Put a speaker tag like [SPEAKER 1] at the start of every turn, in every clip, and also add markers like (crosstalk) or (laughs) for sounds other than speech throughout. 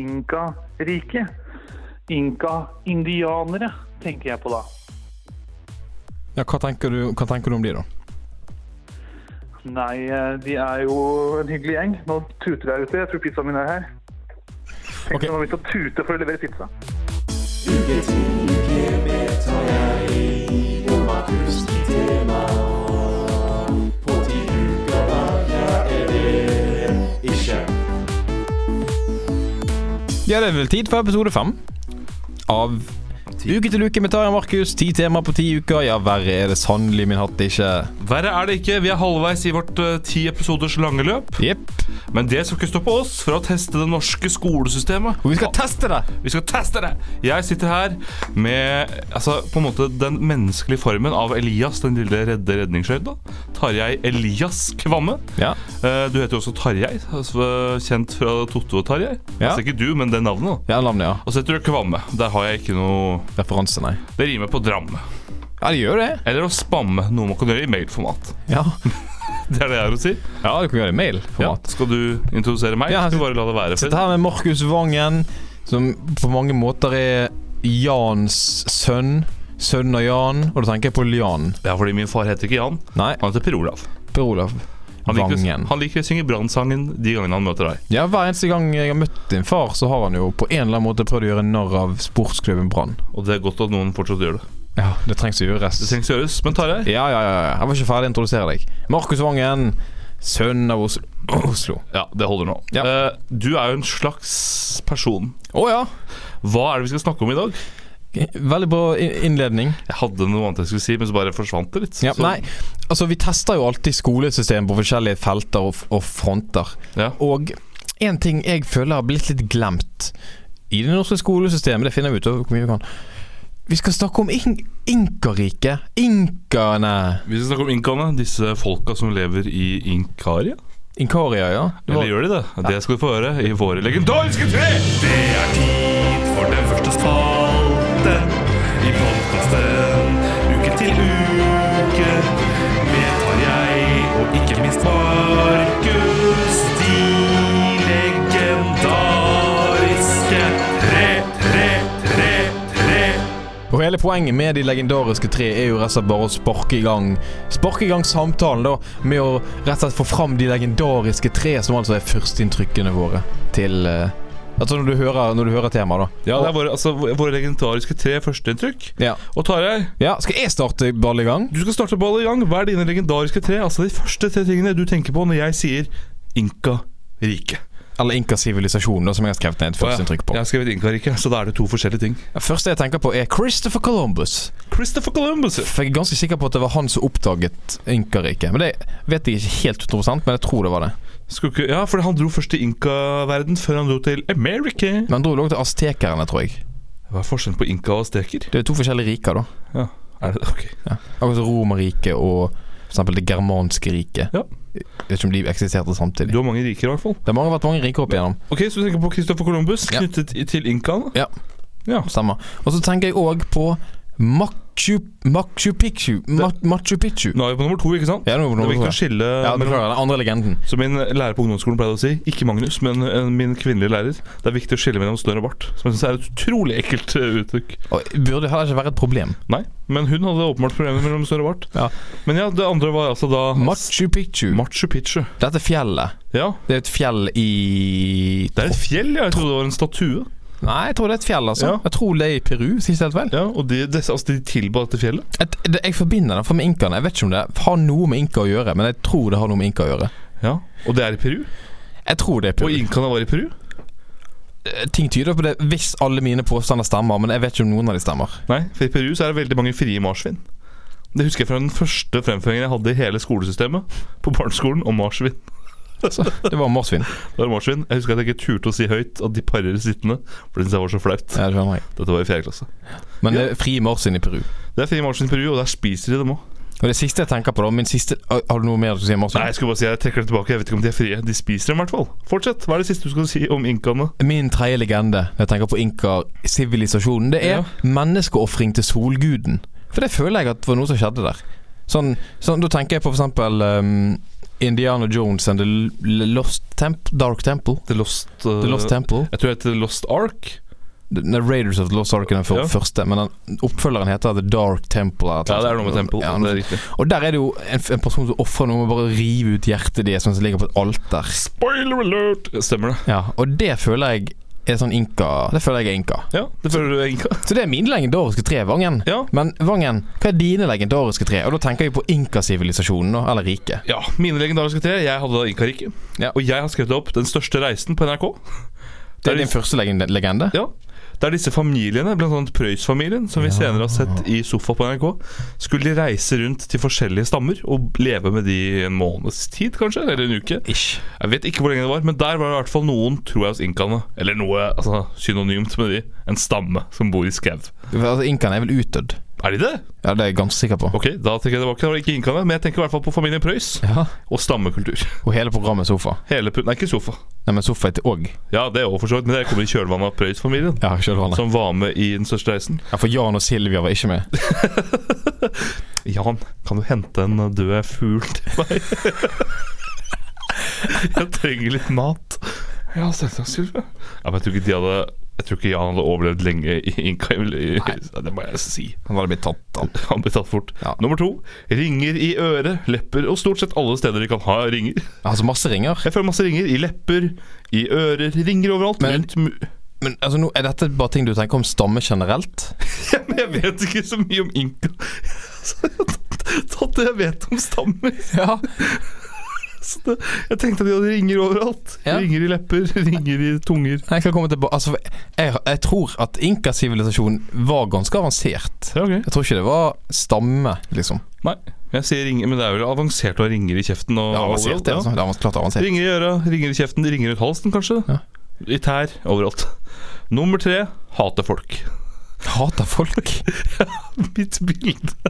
[SPEAKER 1] Inka-riket. Inka-indianere, tenker jeg på da.
[SPEAKER 2] Ja, hva tenker du, hva tenker du om de, da?
[SPEAKER 1] Nei, eh, de er jo en hyggelig gjeng. Nå tuter jeg ute. Jeg tror pizzaen min er her. Tenk
[SPEAKER 2] Ok.
[SPEAKER 1] okay. når de skal tute for å levere pizza.
[SPEAKER 2] Ja, det er vel tid for episode fem av Uke til uke med Tarjei og Markus. Ti temaer på ti uker. Ja, verre er det sannelig min hatt ikke.
[SPEAKER 3] Verre er det ikke. Vi er halvveis i vårt eh, ti episoders lange løp.
[SPEAKER 2] Jepp.
[SPEAKER 3] Men det skal ikke stoppe oss fra å teste det norske skolesystemet.
[SPEAKER 2] Og vi skal teste det!
[SPEAKER 3] Vi skal teste det! Jeg sitter her med altså, på en måte den menneskelige formen av Elias, den lille redde redningsskøyta. Tarjei Elias Kvamme.
[SPEAKER 2] Ja.
[SPEAKER 3] Eh, Du heter jo også Tarjei, altså, kjent fra Totto og Tarjei.
[SPEAKER 2] Ja.
[SPEAKER 3] Altså ikke du, men det navnet. da.
[SPEAKER 2] Ja, navnet, ja.
[SPEAKER 3] Og så heter du Kvamme. Der har jeg ikke noe
[SPEAKER 2] Referanse, nei.
[SPEAKER 3] Det rimer på dram.
[SPEAKER 2] Ja, det gjør det.
[SPEAKER 3] Eller å spamme noe man kan gjøre i mailformat.
[SPEAKER 2] Ja, (laughs)
[SPEAKER 3] Det er det jeg har å si.
[SPEAKER 2] ja du kan gjøre det i
[SPEAKER 3] Ja.
[SPEAKER 2] mailformat.
[SPEAKER 3] Skal du introdusere meg?
[SPEAKER 2] Ja,
[SPEAKER 3] Ja, skal du bare la det være
[SPEAKER 2] Dette
[SPEAKER 3] før?
[SPEAKER 2] her med Markus Vangen, som på mange måter er Jans sønn. Sønn av Jan. Og da tenker jeg på Lian.
[SPEAKER 3] Ja, fordi min far heter ikke Jan.
[SPEAKER 2] Nei,
[SPEAKER 3] Han heter Per Olav.
[SPEAKER 2] Per Olav.
[SPEAKER 3] Han liker,
[SPEAKER 2] Vangen.
[SPEAKER 3] han liker å synge Brannsangen de gangene han møter deg.
[SPEAKER 2] Ja, Hver eneste gang jeg har møtt din far, så har han jo på en eller annen måte prøvd å gjøre narr av sportsklubben Brann.
[SPEAKER 3] Og det er godt at noen fortsatt gjør det.
[SPEAKER 2] Ja, det trengs å gjøres.
[SPEAKER 3] Det trengs å gjøres. Men Tarjei,
[SPEAKER 2] Ja, ja, ja, ja. Jeg var ikke ferdig å introdusere deg. Markus Vangen, sønn av Oslo. Oslo.
[SPEAKER 3] ja, det holder nå.
[SPEAKER 2] Ja.
[SPEAKER 3] Eh, du er jo en slags person.
[SPEAKER 2] Å ja.
[SPEAKER 3] Hva er det vi skal snakke om i dag?
[SPEAKER 2] Veldig bra i- innledning.
[SPEAKER 3] Jeg hadde noe annet jeg skulle si, men så bare forsvant det litt.
[SPEAKER 2] Ja,
[SPEAKER 3] Så-
[SPEAKER 2] nei, altså vi tester jo alltid skolesystem på forskjellige felter og, og fronter.
[SPEAKER 3] Ja.
[SPEAKER 2] Og en ting jeg føler har blitt litt glemt i det norske skolesystemet, det finner vi ut av hvor mye vi kan. Vi skal snakke om in inkariket. Inkane.
[SPEAKER 3] Vi skal snakke om inkaene, disse folka som lever i Inkaria.
[SPEAKER 2] Inkaria, ja. Det
[SPEAKER 3] Eller
[SPEAKER 2] var,
[SPEAKER 3] gjør de det? Det skal du få høre i våre legendariske tre!
[SPEAKER 4] Det er tid for den første spalte i podkasten Uke til uke med Tarjei og ikke minst Markus. De legendariske tre, tre, tre, tre.
[SPEAKER 2] og hele poenget med de legendariske tre er jo rett og slett bare å sparke i gang Sparke i gang samtalen da med å rett og slett få fram de legendariske tre, som altså er førsteinntrykkene våre til eh, Altså når du hører, når du hører temaet, da.
[SPEAKER 3] Ja, det er våre, altså, våre legendariske tre førsteinntrykk.
[SPEAKER 2] Ja.
[SPEAKER 3] Og Tarjei,
[SPEAKER 2] Ja, skal jeg starte ball i gang?
[SPEAKER 3] du skal starte ballet i gang. Hva er dine legendariske tre? Altså de første tre tingene du tenker på når jeg sier Inka-riket.
[SPEAKER 2] Eller Inka sivilisasjon, da, som jeg har skrevet ned et førsteinntrykk på.
[SPEAKER 3] Jeg har skrevet Inka-riket, så da er det to forskjellige ting.
[SPEAKER 2] Første jeg tenker på, er Christopher Columbus.
[SPEAKER 3] Christopher Columbus.
[SPEAKER 2] For jeg er ganske sikker på at det var han som oppdaget Inkariket. Men det vet jeg ikke helt 100 men jeg tror det var det.
[SPEAKER 3] Skulle ikke, ja, for han dro først til Inka-verden før han dro til America.
[SPEAKER 2] Men han dro lå til aztekerne, tror jeg.
[SPEAKER 3] Hva er forskjellen på Inka og steker?
[SPEAKER 2] Det er jo to forskjellige riker, da.
[SPEAKER 3] Ja, er det, ok
[SPEAKER 2] Akkurat som Romerriket og for eksempel det germanske riket.
[SPEAKER 3] Ja.
[SPEAKER 2] Jeg vet ikke om de eksisterte samtidig.
[SPEAKER 3] Du har mange riker i hvert fall.
[SPEAKER 2] Det har mange- vært mange riker opp igjennom.
[SPEAKER 3] Ok, Så du tenker på Christopher Columbus
[SPEAKER 2] Ja.
[SPEAKER 3] knyttet i- til inkaene?
[SPEAKER 2] Ja.
[SPEAKER 3] Ja.
[SPEAKER 2] Stemmer. Og så tenker jeg òg på Machu, Machu Picchu. Ma, Machu Picchu.
[SPEAKER 3] Nå er vi på nummer to, ikke sant?
[SPEAKER 2] Ja, nå,
[SPEAKER 3] Da
[SPEAKER 2] nå,
[SPEAKER 3] vi
[SPEAKER 2] nå,
[SPEAKER 3] kan skille
[SPEAKER 2] ja,
[SPEAKER 3] mellom
[SPEAKER 2] beklager, den andre legenden.
[SPEAKER 3] Som min lærer på ungdomsskolen pleide å si, ikke Magnus, men eh, min kvinnelige lærer, det er viktig å skille mellom snørr og bart. Som jeg synes er et utrolig ekkelt eh, uttrykk.
[SPEAKER 2] Og burde heller ikke være et problem.
[SPEAKER 3] Nei, men hun hadde åpenbart problemer mellom snørr og bart.
[SPEAKER 2] Ja.
[SPEAKER 3] Men ja, det andre var altså da
[SPEAKER 2] Machu Picchu.
[SPEAKER 3] Machu Picchu.
[SPEAKER 2] Dette fjellet.
[SPEAKER 3] Ja,
[SPEAKER 2] Det er et fjell i
[SPEAKER 3] det er et fjell, ja. Jeg trodde det var en statue.
[SPEAKER 2] Nei, jeg tror det er et fjell, altså.
[SPEAKER 3] Ja.
[SPEAKER 2] Jeg tror det er i Peru, sier jeg helt vel.
[SPEAKER 3] Ja, Og de, disse- altså, de tilba dette fjellet.
[SPEAKER 2] Et, det, jeg forbinder det for med inkaene. Jeg vet ikke om det har noe med inka å gjøre, men jeg tror det har noe med inka å gjøre.
[SPEAKER 3] Ja, Og det er i Peru.
[SPEAKER 2] Jeg tror det er Peru.
[SPEAKER 3] Og inkaene var i Peru.
[SPEAKER 2] Eh, Ting tyder på det hvis alle mine påstander stemmer, men jeg vet ikke om noen av de stemmer.
[SPEAKER 3] Nei, for i Peru så er det veldig mange frie marsvin. Det husker jeg fra den første fremføringen jeg hadde i hele skolesystemet. På barneskolen om marsvin.
[SPEAKER 2] Så, det var
[SPEAKER 3] (laughs)
[SPEAKER 2] marsvin.
[SPEAKER 3] Det var marsvin. Jeg husker at jeg ikke turte å si høyt at de parer sittende, for det syntes jeg var så flaut.
[SPEAKER 2] Ja, det skjønner jeg.
[SPEAKER 3] Dette var i fjerde klasse.
[SPEAKER 2] Men det er fri marsvin i Peru.
[SPEAKER 3] Det er frie marsvin i Peru, og der spiser de dem òg.
[SPEAKER 2] Og det siste jeg tenker på, da min siste Har har du noe mer du skal si om marsvin?
[SPEAKER 3] Nei, jeg skulle bare si jeg trekker det tilbake. Jeg vet ikke om de er frie. De spiser dem i hvert fall. Fortsett. Hva er det siste du skal si om inkaene?
[SPEAKER 2] Min tredje legende når jeg tenker på inka-sivilisasjonen, det er
[SPEAKER 3] Ja.
[SPEAKER 2] menneskeofring til solguden. For det føler jeg at var noe som skjedde der. Sånn, sånn Da tenker jeg på f.eks. Um, Indiana Jones and the L- L- Lost Temp Dark Temple.
[SPEAKER 3] The Lost, uh,
[SPEAKER 2] The Lost Temple.
[SPEAKER 3] Jeg tror det heter Lost Ark.
[SPEAKER 2] The, nei, Raiders of the Lost Ark er den fyr-
[SPEAKER 3] Ja.
[SPEAKER 2] første, men den, oppfølgeren heter The Dark Temple. eller et
[SPEAKER 3] Ja,
[SPEAKER 2] eller
[SPEAKER 3] det er
[SPEAKER 2] annet.
[SPEAKER 3] noe med Temple.
[SPEAKER 2] Ja,
[SPEAKER 3] det er riktig.
[SPEAKER 2] og der er det jo en, f- en person som ofrer noe med å bare rive ut hjertet deres, sånn som ligger på et alter.
[SPEAKER 3] Spoiler alert! Stemmer det.
[SPEAKER 2] Ja, og det føler jeg er sånn inka Det føler jeg er inka.
[SPEAKER 3] Ja, det føler du, Inka?
[SPEAKER 2] Så det er min legendariske tre, Vangen.
[SPEAKER 3] Ja.
[SPEAKER 2] Men Vangen, hva er dine legendariske tre? Og da tenker jeg på inkasivilisasjonen, da, eller riket.
[SPEAKER 3] Ja, mine legendariske tre. Jeg hadde da Inka-riket.
[SPEAKER 2] Ja.
[SPEAKER 3] Og jeg har skrevet opp Den største reisen på NRK.
[SPEAKER 2] Det
[SPEAKER 3] er
[SPEAKER 2] er din
[SPEAKER 3] disse-
[SPEAKER 2] første legende? legende?
[SPEAKER 3] Ja. Der disse familiene, bl.a. Prøys-familien, som vi senere har sett i Sofa på NRK, skulle de reise rundt til forskjellige stammer og leve med de i en måneds tid, kanskje? Eller en uke.
[SPEAKER 2] Ish.
[SPEAKER 3] Jeg vet ikke hvor lenge det var, men der var det i hvert fall noen, tror jeg, hos inkaene. Eller noe altså, synonymt med de. En stamme som bor i skau.
[SPEAKER 2] Altså, Inkaen er vel utdødd?
[SPEAKER 3] Er de det?
[SPEAKER 2] Ja, det er jeg ganske sikker på.
[SPEAKER 3] Ok, da tenker jeg det var ikke, det var ikke inkaene, men jeg tenker i hvert fall på familien Prøys
[SPEAKER 2] Ja.
[SPEAKER 3] og stammekultur. (laughs)
[SPEAKER 2] Og hele programmet Sofa.
[SPEAKER 3] Hele pu- Nei, ikke sofa.
[SPEAKER 2] Nei, men Sofa heter òg
[SPEAKER 3] Ja, det er også for så vidt, men det kommer i kjølvannet av Prøys-familien.
[SPEAKER 2] Ja, kjølvannet.
[SPEAKER 3] Som var med i Den største reisen.
[SPEAKER 2] Ja, for Jan og Silvia var ikke (laughs) med.
[SPEAKER 3] Jan, kan du hente en eh, død fugl til meg? (laughs) jeg trenger litt mat. Ja, selvsagt, Sylve. Ja, men jeg tror ikke de hadde Jeg tror ikke Jan hadde overlevd lenge i Inka. i- i- Det må jeg si.
[SPEAKER 2] Han hadde blitt tatt av.
[SPEAKER 3] Han blir tatt fort.
[SPEAKER 2] Ja.
[SPEAKER 3] Nummer to ringer i øret, lepper og stort sett alle steder de kan ha ringer.
[SPEAKER 2] Altså, masse ringer.
[SPEAKER 3] Jeg føler masse ringer i lepper, i ører, ringer overalt.
[SPEAKER 2] Men-
[SPEAKER 3] rundt mu (laughs)
[SPEAKER 2] Men altså, nå, er dette bare ting du tenker om stamme generelt?
[SPEAKER 3] ja, men jeg vet ikke så mye om inka. (laughs) Så jeg har tatt- tatt det jeg vet om
[SPEAKER 2] (laughs)
[SPEAKER 3] stammer.
[SPEAKER 2] Ja.
[SPEAKER 3] Så det, jeg tenkte at de hadde ringer overalt.
[SPEAKER 2] Ja.
[SPEAKER 3] Ringer i lepper, (laughs) ringer i tunger.
[SPEAKER 2] Jeg kan komme tilbake Altså, jeg, jeg tror at inkasivilisasjonen var ganske avansert.
[SPEAKER 3] Ja, ok
[SPEAKER 2] Jeg tror ikke det var stamme, liksom.
[SPEAKER 3] Nei, jeg sier ringer, men det er vel avansert å ha ringer i kjeften. Og
[SPEAKER 2] Det var avansert,
[SPEAKER 3] overalt,
[SPEAKER 2] det.
[SPEAKER 3] ja.
[SPEAKER 2] Altså. Det var klart avansert.
[SPEAKER 3] Ringer i øra, ringer i kjeften, ringer rundt halsen, kanskje.
[SPEAKER 2] Ja.
[SPEAKER 3] I tær, overalt. Nummer tre hater folk. (laughs)
[SPEAKER 2] Hater folk.
[SPEAKER 3] Mitt bilde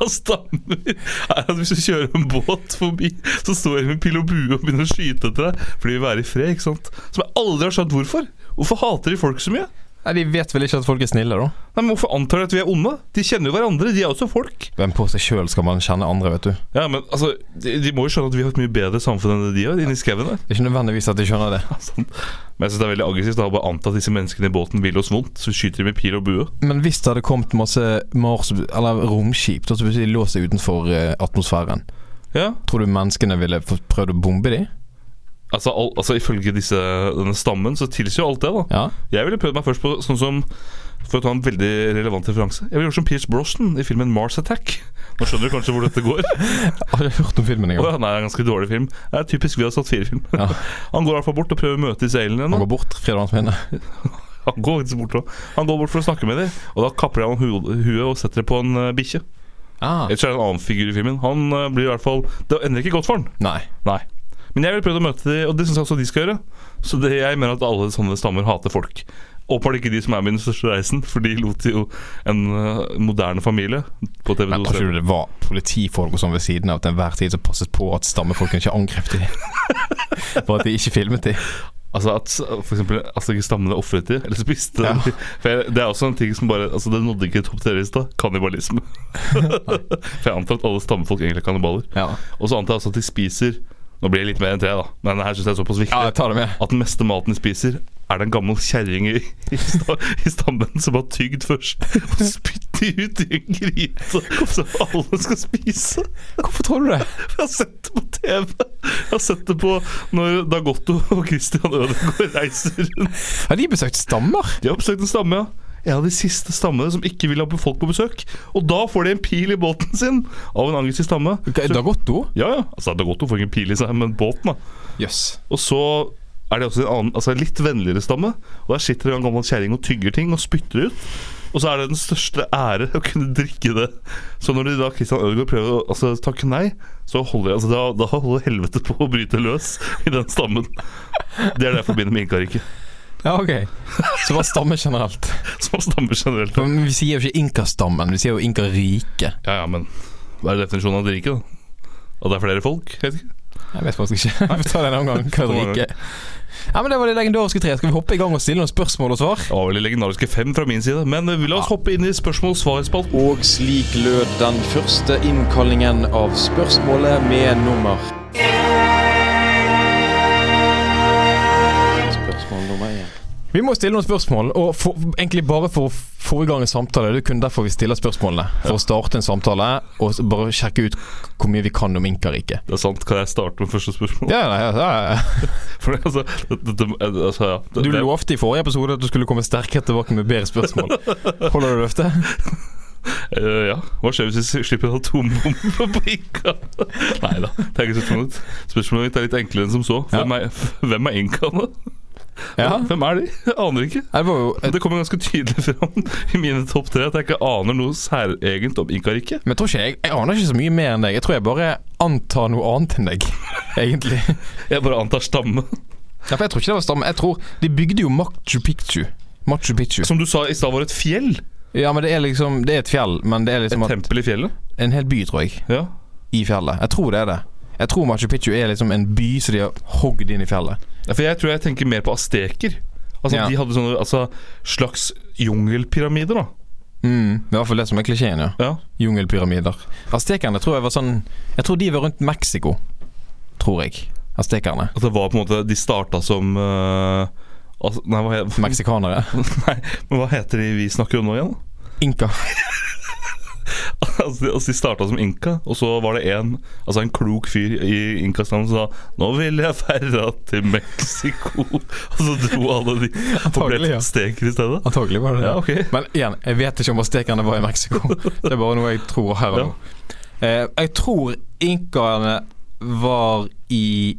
[SPEAKER 3] av stammer er at hvis du kjører en båt forbi, så står de med pil og bue og begynner å skyte etter deg. For de vil være i fred, ikke sant. Som jeg aldri har skjønt hvorfor. Hvorfor hater de folk så mye?
[SPEAKER 2] (laughs) Nei, De vet vel ikke at folk er snille, da?
[SPEAKER 3] Nei, men Hvorfor antar de at vi er onde? De kjenner jo hverandre, de er også folk.
[SPEAKER 2] Men på seg sjøl skal man kjenne andre, vet du.
[SPEAKER 3] Ja, men altså, De, de må jo skjønne at vi har et mye bedre samfunn enn det de har inni skauen der.
[SPEAKER 2] Det er ikke nødvendigvis at de skjønner det.
[SPEAKER 3] (laughs) Sånn. Men jeg synes det er veldig aggressivt da, å bare anta at disse menneskene i båten vil oss vondt, så skyter de med pil og bue.
[SPEAKER 2] Men hvis det hadde kommet masse Mars, eller romskip, da så plutselig lå seg utenfor eh, atmosfæren,
[SPEAKER 3] Ja,
[SPEAKER 2] tror du menneskene ville fått prøvd å bombe de?
[SPEAKER 3] altså, al altså Ifølge disse, denne stammen så tilsier jo alt det, da.
[SPEAKER 2] Ja.
[SPEAKER 3] Jeg ville prøvd meg først på sånn som For å ta en veldig relevant referanse. Jeg ville gjort som Pierce Brosnan i filmen Mars Attack. Nå skjønner du kanskje hvor dette (laughs) går.
[SPEAKER 2] Jeg har hørt om filmen
[SPEAKER 3] Å
[SPEAKER 2] engang.
[SPEAKER 3] ja, nei, det er en ganske dårlig film. Det er typisk vi har satt fire film.
[SPEAKER 2] Ja.
[SPEAKER 3] (laughs) Han går i hvert fall bort og prøver å møte disse alienene.
[SPEAKER 2] Han går bort, fredag hans minne.
[SPEAKER 3] Han går faktisk bort og Han går bort for å snakke med dem, og da kapper de av ham ho- huet og setter det på en eh, bikkje.
[SPEAKER 2] Ah.
[SPEAKER 3] Ellers er det en annen figur i filmen. Han eh, blir i hvert fall Det ender ikke godt for han.
[SPEAKER 2] Nei.
[SPEAKER 3] Nei. Men jeg ville prøvd å møte dem, og det syns jeg også de skal gjøre. Så det, jeg mener at alle sånne stammer hater folk. Åpenbart ikke de som er med i Den største reisen, for de lot jo en eh, moderne familie på TV2
[SPEAKER 2] Men tror ikke du det var politifolk og sånn ved siden av til enhver tid som passet på at stammefolkene ikke angrep de? (laughs) Bare at de ikke filmet de.
[SPEAKER 3] Altså at s- for eksempel, altså ikke stammene ofret de, eller spiste
[SPEAKER 2] Ja.
[SPEAKER 3] de. (laughs) For jeg, Det er også en ting som bare Altså det nådde ikke topp tre-lista. Kannibalisme. (laughs) for jeg antar at alle stammefolk egentlig er kannibaler.
[SPEAKER 2] Ja.
[SPEAKER 3] Og så antar jeg også at de spiser Nå blir det litt mer enn tre, da, men det her syns jeg er såpass viktig.
[SPEAKER 2] ja, ta det med.
[SPEAKER 3] at den meste maten de spiser, er det en gammel kjerring i, i, sta, i stammen som har tygd først og spytt de ut i en gryte som alle skal spise.
[SPEAKER 2] Ah, Hvorfor tror du det?
[SPEAKER 3] Jeg har sett det på TV. Jeg har sett det på når Dagotto og Christian Ødegaard reiser rundt.
[SPEAKER 2] Har de besøkt stammer?
[SPEAKER 3] De har besøkt en stamme, ja. En av de siste stammene som ikke vil ha folk på besøk. Og da får de en pil i båten sin av en aggressiv stamme.
[SPEAKER 2] Okay,
[SPEAKER 3] Så-
[SPEAKER 2] Dagotto?
[SPEAKER 3] Ja, ja. Altså, Dagotto får ikke en pil i seg, men båten, da.
[SPEAKER 2] Jøss. Yes.
[SPEAKER 3] Og så er det også en annen, altså en litt vennligere stamme. Og der sitter det en gammel kjerring og tygger ting og spytter ut. Og så er det den største ære å kunne drikke det. Så når de da Christian Ødegaard prøver å altså, takke nei, så holder, jeg, altså, da, da holder helvete på å bryte løs i den stammen. Det er det jeg forbinder med inkariket.
[SPEAKER 2] Ja, ok. Så bare stamme (laughs) generelt.
[SPEAKER 3] Som stammer generelt.
[SPEAKER 2] Men vi sier jo ikke inkastammen, vi sier jo inkariket.
[SPEAKER 3] Ja, ja, men hva er definisjonen av et rike, da? At det er flere folk? Jeg vet ikke.
[SPEAKER 2] Jeg vet faktisk ikke. Vi får ta det en annen gang. Hva er rike? Ja, men det var de legendariske tre. Skal vi hoppe i gang og stille noen spørsmål og svar?
[SPEAKER 3] Det var vel de legendariske fem fra min side, men eh, la oss hoppe inn i spørsmål-svar-spalten.
[SPEAKER 5] Og slik lød den første innkallingen av spørsmålet med nummer
[SPEAKER 2] Vi må stille noen spørsmål, og for, egentlig bare for å få i gang en samtale. Det er kun derfor vi stiller spørsmålene. For å starte en samtale og s- bare sjekke ut hvor mye vi kan om Inkarike.
[SPEAKER 3] Det er sant. Kan jeg starte med første spørsmål?
[SPEAKER 2] Ja, ja, ja, ja.
[SPEAKER 3] For det, altså, det, det, det, altså, ja. Det,
[SPEAKER 2] Du
[SPEAKER 3] det,
[SPEAKER 2] lovte i forrige episode at du skulle komme sterkere tilbake med bedre
[SPEAKER 3] (laughs)
[SPEAKER 2] spørsmål. Holder du løftet?
[SPEAKER 3] Eh, ja. Hva skjer hvis vi slipper en atombombe på Inka? (laughs) Nei da, det er ikke så tungt. Spørsmålet mitt er litt enklere enn som så.
[SPEAKER 2] Ja.
[SPEAKER 3] Hvem er, hvem er inkaene?
[SPEAKER 2] Ja.
[SPEAKER 3] Hvem er de? Jeg aner ikke.
[SPEAKER 2] Det var jo et,
[SPEAKER 3] Det kommer ganske tydelig fram i mine topp tre at jeg ikke aner noe særegent om inkariket.
[SPEAKER 2] men jeg tror ikke jeg, jeg aner ikke så mye mer enn deg. Jeg tror jeg bare antar noe annet enn deg, (laughs) egentlig.
[SPEAKER 3] Jeg bare antar stamme.
[SPEAKER 2] Ja, for jeg tror ikke det var stamme. Jeg tror De bygde jo Machu Picchu. Machu Picchu.
[SPEAKER 3] Som du sa i stad var et fjell.
[SPEAKER 2] Ja, men det er liksom Det er et fjell, men det er
[SPEAKER 3] Et
[SPEAKER 2] liksom at,
[SPEAKER 3] tempel i fjellet.
[SPEAKER 2] en hel by, tror jeg.
[SPEAKER 3] Ja.
[SPEAKER 2] i fjellet. Jeg tror det er det. Jeg tror Machu Picchu er liksom en by som de har hogd inn i fjellet.
[SPEAKER 3] Ja, For jeg tror jeg tenker mer på asteker. Altså,
[SPEAKER 2] Ja.
[SPEAKER 3] De hadde sånne altså, slags jungelpyramider, da.
[SPEAKER 2] Mm, det er I hvert fall det som er klisjeen, ja.
[SPEAKER 3] Ja.
[SPEAKER 2] Jungelpyramider. Aztekerne tror jeg var sånn Jeg tror de var rundt Mexico, tror jeg.
[SPEAKER 3] (laughs)
[SPEAKER 2] Aztekerne.
[SPEAKER 3] At det var på en måte De starta som eh, altså, Nei, hva, he-
[SPEAKER 2] Meksikanere.
[SPEAKER 3] (laughs) nei, men hva heter de vi snakker om nå igjen? (laughs)
[SPEAKER 2] Inka.
[SPEAKER 3] Altså, de- altså De starta som inka, og så var det en Altså en klok fyr i inkastammen som sa 'Nå vil jeg ferda til Mexico'. (laughs) Og så dro alle de og ble
[SPEAKER 2] Antagelig, ja.
[SPEAKER 3] til steker i stedet.
[SPEAKER 2] Antagelig var det det.
[SPEAKER 3] Ja, ok
[SPEAKER 2] Men igjen, jeg vet ikke om aztekerne var i Mexico.
[SPEAKER 3] (laughs)
[SPEAKER 2] Det er bare noe jeg tror her og nå. Eh, jeg tror inkaene var i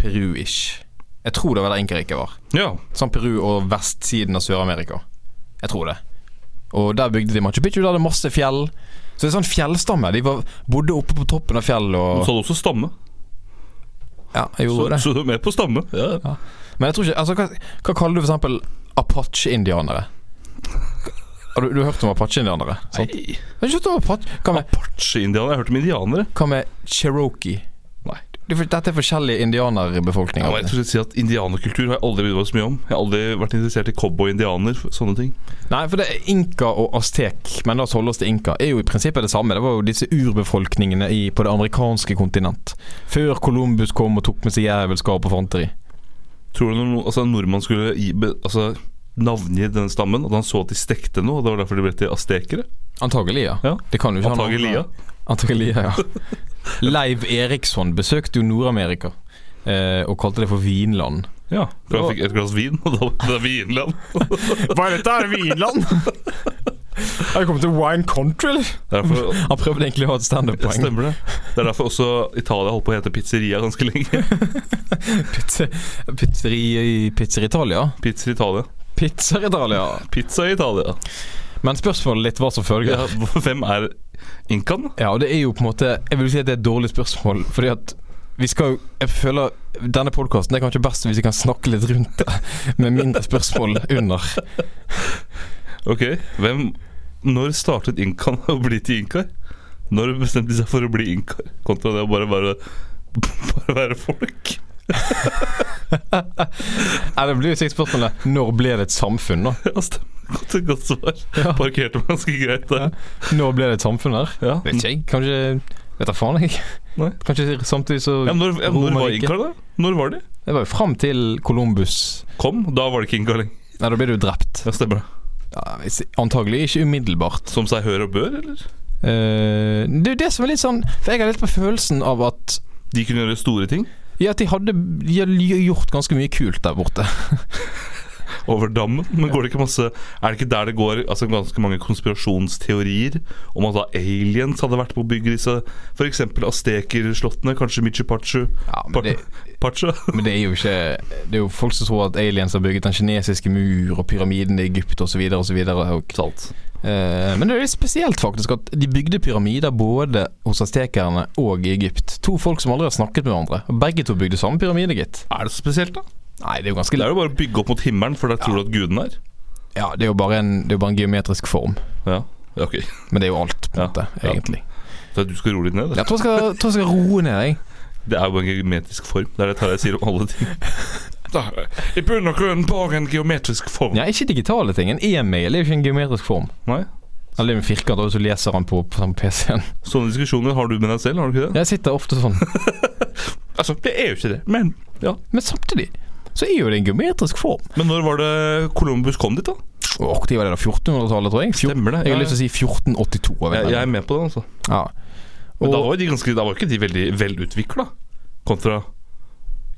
[SPEAKER 2] Peru-ish. Jeg tror det var der Inkariket var.
[SPEAKER 3] Ja,
[SPEAKER 2] Sånn Peru og vestsiden av Sør-Amerika. Jeg tror det. Og der bygde de Machu Picchu. Der er det masse fjell. Så det er sånn fjellstamme. De var, bodde oppe på toppen av fjell
[SPEAKER 3] Så
[SPEAKER 2] og
[SPEAKER 3] hadde også stamme.
[SPEAKER 2] Ja, jeg
[SPEAKER 3] Så,
[SPEAKER 2] gjorde det.
[SPEAKER 3] så du er med på stamme. Ja.
[SPEAKER 2] Men jeg tror ikke Altså, hva, hva kaller du for eksempel apache-indianere? Har du, du har hørt om apache-indianere? sant?
[SPEAKER 3] Nei,
[SPEAKER 2] Men Slutt å apache Hva med,
[SPEAKER 3] Apache-indianere. Jeg har hørt om indianere.
[SPEAKER 2] hva med cherokee?
[SPEAKER 3] Nei.
[SPEAKER 2] Det er for- Dette er forskjellige indianerbefolkninger.
[SPEAKER 3] Ja, men jeg tror jeg si at Indianerkultur har jeg aldri brydd meg så mye om. Jeg har aldri vært interessert i cowboy-indianer. Sånne ting
[SPEAKER 2] Nei, for det er inka og aztek, men la oss holde oss til inka, er jo i prinsippet det samme. Det var jo disse urbefolkningene i, på det amerikanske kontinent. Før Columbus kom og tok med seg jævelskap og fanteri.
[SPEAKER 3] Tror du noen, altså, en nordmann skulle gi, be, altså, navngi denne stammen, at han så at de stekte noe, og det var derfor de ble til aztekere?
[SPEAKER 2] Antagelig, ja.
[SPEAKER 3] Ja.
[SPEAKER 2] Det kan jo ikke ha noe-
[SPEAKER 3] Antagelig, ja.
[SPEAKER 2] Antagelig, ja. (laughs) Leiv Eriksson besøkte jo Nord-Amerika. eh, Og kalte det for Vinland.
[SPEAKER 3] Ja, for han fikk et glass vin, og da var det Vinland.
[SPEAKER 2] Hva er dette her, Vinland? Har vi kommet til wine country, eller?
[SPEAKER 3] Derfor,
[SPEAKER 2] Han prøvde egentlig å ha et
[SPEAKER 3] det
[SPEAKER 2] standup-poeng.
[SPEAKER 3] stemmer det. Det er derfor også Italia holdt på å hete pizzeria ganske lenge.
[SPEAKER 2] Pizze- Pizzeri i Pizzer Italia?
[SPEAKER 3] Pizza Italia.
[SPEAKER 2] Pizzer Italia.
[SPEAKER 3] Pizza Italia.
[SPEAKER 2] Men spørsmålet ditt var som følger.
[SPEAKER 3] Ja, hvem er inkaen?
[SPEAKER 2] Ja, og det er jo på en måte Jeg vil si at det er et dårlig spørsmål, fordi at vi skal jo Jeg føler denne podkasten er kanskje best hvis vi kan snakke litt rundt det, med mindre spørsmål under.
[SPEAKER 3] Ok, hvem Når startet inkaene å bli til inkaer? Når bestemte de seg for å bli inkaer, kontra det å bare være, (laughs) bare være folk?
[SPEAKER 2] Nei, det blir jo sikkert spørsmålet Når ble det et samfunn, da?
[SPEAKER 3] Ja, stemmer. Godt, godt svar.
[SPEAKER 2] Ja.
[SPEAKER 3] Parkerte meg ganske greit der.
[SPEAKER 2] Når ble det et samsamfunn her?
[SPEAKER 3] Ja.
[SPEAKER 2] Vet ikke jeg. Kanskje Vet da faen, jeg.
[SPEAKER 3] Nei.
[SPEAKER 2] Kanskje samtidig så
[SPEAKER 3] Ja, når, ja, når var
[SPEAKER 2] Romerriket.
[SPEAKER 3] inkaene, da? Når var de?
[SPEAKER 2] Det var jo fram til Columbus
[SPEAKER 3] Kom, da var det ikke inkaer lenger.
[SPEAKER 2] Nei, da ble du drept.
[SPEAKER 3] Ja, stemmer det.
[SPEAKER 2] Ja, jeg si- antagelig ikke umiddelbart.
[SPEAKER 3] Som seg hør og bør, eller?
[SPEAKER 2] Eh, det er jo det som er litt sånn For jeg har litt på følelsen av at
[SPEAKER 3] De kunne gjøre store ting.
[SPEAKER 2] Ja, at de hadde de hadde gjort ganske mye kult der
[SPEAKER 3] (laughs)
[SPEAKER 2] borte.
[SPEAKER 3] Over dammen. Men går det ikke masse Er det ikke der det går altså, ganske mange konspirasjonsteorier om at da aliens hadde vært på å bygge disse f.eks. astekerslottene? Kanskje Michi Pachu?
[SPEAKER 2] Ja, men det,
[SPEAKER 3] Pachu?
[SPEAKER 2] men det er jo ikke Det er jo folk som tror at aliens har bygget den kinesiske mur og pyramiden i Egypt osv. osv.
[SPEAKER 3] Salt.
[SPEAKER 2] Eh, men det er litt spesielt faktisk at de bygde pyramider både hos aztekerne og i Egypt. To folk som aldri har snakket med hverandre. Og begge to bygde samme pyramide, gitt.
[SPEAKER 3] Er det så spesielt, da?
[SPEAKER 2] Nei, det er jo
[SPEAKER 3] Det
[SPEAKER 2] ganske
[SPEAKER 3] er jo bare å bygge opp mot himmelen, for der tror du at guden er.
[SPEAKER 2] Ja, det er jo bare en, det er jo bare en geometrisk form.
[SPEAKER 3] Ja, ja ok.
[SPEAKER 2] Men det er jo alt, på en
[SPEAKER 3] Ja,
[SPEAKER 2] måte,
[SPEAKER 3] ja.
[SPEAKER 2] egentlig.
[SPEAKER 3] Så du skal roe litt ned? da.
[SPEAKER 2] Jeg tror jeg skal, tror jeg skal roe ned, jeg.
[SPEAKER 3] Det er jo bare en geometrisk form. Det er det Tarjei sier om alle (laughs) ting. I bunn og grunn bare en geometrisk form.
[SPEAKER 2] Ja, ikke digitale ting. En e-mail er jo ikke en geometrisk form.
[SPEAKER 3] Nei.
[SPEAKER 2] Eller en firkant, og så leser han på, på (laughs) PC-en.
[SPEAKER 3] Sånne diskusjoner har du med deg selv, har du ikke det?
[SPEAKER 2] Jeg sitter ofte sånn.
[SPEAKER 3] Altså, det er jo ikke det, men ja.
[SPEAKER 2] Men samtidig så er jo det en geometrisk form.
[SPEAKER 3] Men når var det Columbus kom dit, da?
[SPEAKER 2] Åh, de var det da 1400-tallet, tror jeg. Fjor-
[SPEAKER 3] Stemmer det,
[SPEAKER 2] Jeg har
[SPEAKER 3] ja.
[SPEAKER 2] lyst til å si 1482. av en
[SPEAKER 3] Jeg,
[SPEAKER 2] eller annen.
[SPEAKER 3] jeg er med på det, altså.
[SPEAKER 2] Ja.
[SPEAKER 3] Men da
[SPEAKER 2] Og,
[SPEAKER 3] var, de ganske, da var ikke de veldig velutvikla, kontra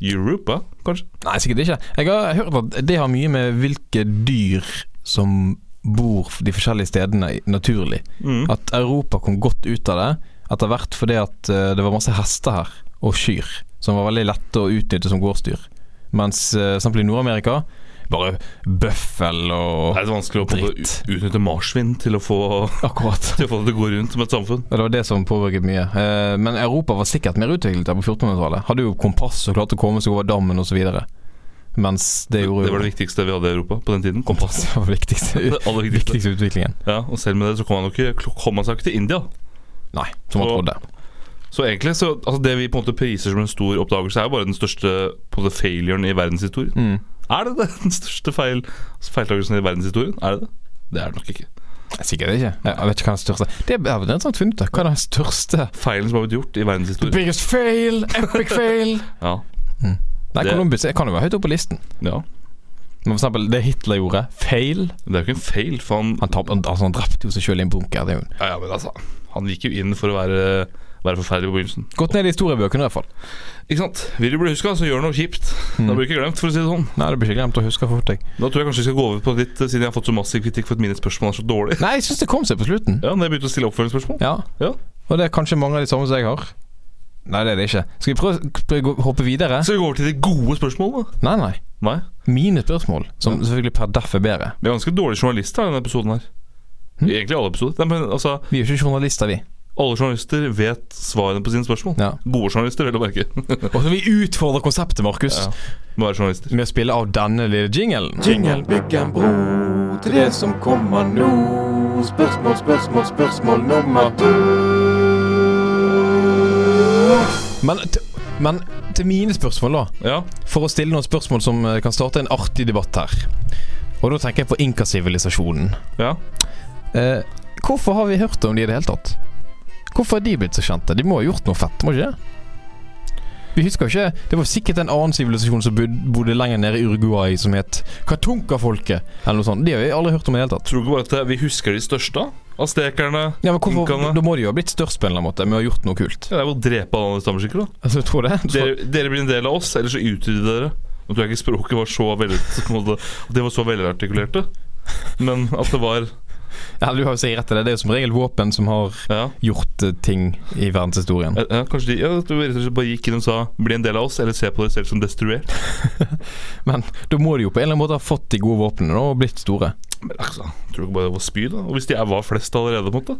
[SPEAKER 3] Europa, kanskje.
[SPEAKER 2] nei, sikkert ikke. Jeg har hørt at det har mye med hvilke dyr som bor de forskjellige stedene i- naturlig.
[SPEAKER 3] Mm.
[SPEAKER 2] At Europa kom godt ut av det etter hvert fordi at eh, det var masse hester her, og kyr, som var veldig lette å utnytte som gårdsdyr. Mens eh, eksempel i Nord-Amerika bare bøffel
[SPEAKER 3] Det
[SPEAKER 2] og
[SPEAKER 3] er litt vanskelig å på en måte
[SPEAKER 2] Dritt.
[SPEAKER 3] ut- utnytte marsvin til å, få, (laughs)
[SPEAKER 2] Akkurat.
[SPEAKER 3] til å få det til å gå rundt som et samfunn.
[SPEAKER 2] Og det var det som påvirket mye. Eh, Men Europa var sikkert mer utviklet der på 1400-tallet. Hadde jo kompass og klarte å komme seg over dammen osv. Mens det
[SPEAKER 3] Det
[SPEAKER 2] gjorde
[SPEAKER 3] var det viktigste vi hadde i Europa på den tiden. Kompass.
[SPEAKER 2] Det var viktigste,
[SPEAKER 3] Det (laughs) aller viktigste.
[SPEAKER 2] viktigste utviklingen.
[SPEAKER 3] Ja, og selv med det så kom man jo ikke, kom man seg jo ikke til India.
[SPEAKER 2] Nei, som man
[SPEAKER 3] Så-
[SPEAKER 2] trodde.
[SPEAKER 3] Så egentlig, så, altså det vi på en måte priser som en stor oppdagelse, er jo bare den største på en måte, failuren i verdenshistorien.
[SPEAKER 2] Mm.
[SPEAKER 3] Er det (laughs) det? den største feil, feiltakelsen i verdenshistorien? Er det det? Det er det nok ikke.
[SPEAKER 2] Sikkert ikke. Jeg vet ikke hva den største Det er- jeg har nettopp funnet ut. av. Hva er den største
[SPEAKER 3] Feilen som har blitt gjort i verdenshistorien.
[SPEAKER 2] Biggest fail! Epic fail!
[SPEAKER 3] Ja.
[SPEAKER 2] Nei,
[SPEAKER 3] Det-
[SPEAKER 2] Columbus kan jo være høyt oppe på listen.
[SPEAKER 3] ja.
[SPEAKER 2] Men for eksempel det Hitler gjorde. Feil.
[SPEAKER 3] Det er jo ikke en feil, for han
[SPEAKER 2] Han, tap, han, altså, han drepte jo seg sjøl i en bunker. Det er jo.
[SPEAKER 3] Ja, ja, men altså Han gikk jo inn for å være, være forferdelig på begynnelsen.
[SPEAKER 2] Gått ned i historiebøkene i hvert fall.
[SPEAKER 3] Ikke sant? Vil du bli huska, så gjør noe kjipt. Da blir du ikke glemt, for å si det sånn.
[SPEAKER 2] Nei, det blir ikke glemt å huske for deg.
[SPEAKER 3] Da tror jeg kanskje vi skal gå over på ditt, eh, siden jeg har fått så massiv kritikk for at mine spørsmål er så dårlige. (laughs)
[SPEAKER 2] Nei, jeg syns det kom seg på slutten.
[SPEAKER 3] Ja, når jeg begynte å stille oppfølgingsspørsmål.
[SPEAKER 2] Ja.
[SPEAKER 3] Ja.
[SPEAKER 2] Og det er kanskje mange av de samme som jeg har. Nei, det er det ikke. Skal vi prøve, prøve å hoppe videre?
[SPEAKER 3] Skal vi gå over til de gode spørsmålene?
[SPEAKER 2] Nei, nei.
[SPEAKER 3] Nei.
[SPEAKER 2] Mine spørsmål, som selvfølgelig per deff er bedre.
[SPEAKER 3] Vi er ganske dårlige journalister i denne episoden her.
[SPEAKER 2] Hm?
[SPEAKER 3] Egentlig alle episoder. Nei, men altså,
[SPEAKER 2] Vi er jo ikke journalister, vi.
[SPEAKER 3] alle journalister vet svarene på sine spørsmål.
[SPEAKER 2] Ja.
[SPEAKER 3] Gode journalister, vel å merke.
[SPEAKER 2] (laughs)
[SPEAKER 3] (laughs)
[SPEAKER 2] Og så vi utfordrer konseptet, Markus,
[SPEAKER 3] Ja. Må være journalister.
[SPEAKER 2] med å spille av denne lille jingelen.
[SPEAKER 5] Jingle, bygg en bro til det som kommer nå. Spørsmål, spørsmål, spørsmål nummer to.
[SPEAKER 2] Men, t men til mine spørsmål, da.
[SPEAKER 3] Ja.
[SPEAKER 2] for å stille noen spørsmål som eh, kan starte en artig debatt her. Og da tenker jeg på inkasivilisasjonen.
[SPEAKER 3] ja.
[SPEAKER 2] Eh, hvorfor har vi hørt om de i det hele tatt? Hvorfor er de blitt så kjente? De må ha gjort noe fett, må ikke det? Vi husker jo ikke, Det var sikkert en annen sivilisasjon som bod- bodde lenger nede i Uruguay, som het Katunka-folket, eller noe sånt. De har vi aldri hørt om i det hele tatt.
[SPEAKER 3] Tror du ikke bare at eh, vi husker de største? Aztekerne
[SPEAKER 2] Ja, men hvorfor,
[SPEAKER 3] Inkaene.
[SPEAKER 2] Da må de jo ha blitt størst på en eller annen måte, med å ha gjort noe kult.
[SPEAKER 3] Ja, Det er jo å drepe alle andre stammeskikker, da.
[SPEAKER 2] Altså, jeg tror det.
[SPEAKER 3] Dere, dere blir en del av oss, eller så utrydder dere. Nå tror jeg ikke språket var så vel- (laughs) på en måte, at De var så velartikulerte. Men at det var
[SPEAKER 2] Ja, du har jo sikkert rett i det. Det er jo som regel våpen som har
[SPEAKER 3] Ja,
[SPEAKER 2] gjort eh, ting i verdenshistorien.
[SPEAKER 3] ja ja, kanskje de ja, at du rett og slett bare gikk inn og sa 'bli en del av oss', eller 'se på dere selv som destruert'.
[SPEAKER 2] Men da må de jo på en eller annen måte ha fått de gode våpnene da, og blitt store.
[SPEAKER 3] Men altså, tror du ikke bare det var spy, da? Og hvis de er- var flest allerede, på en måte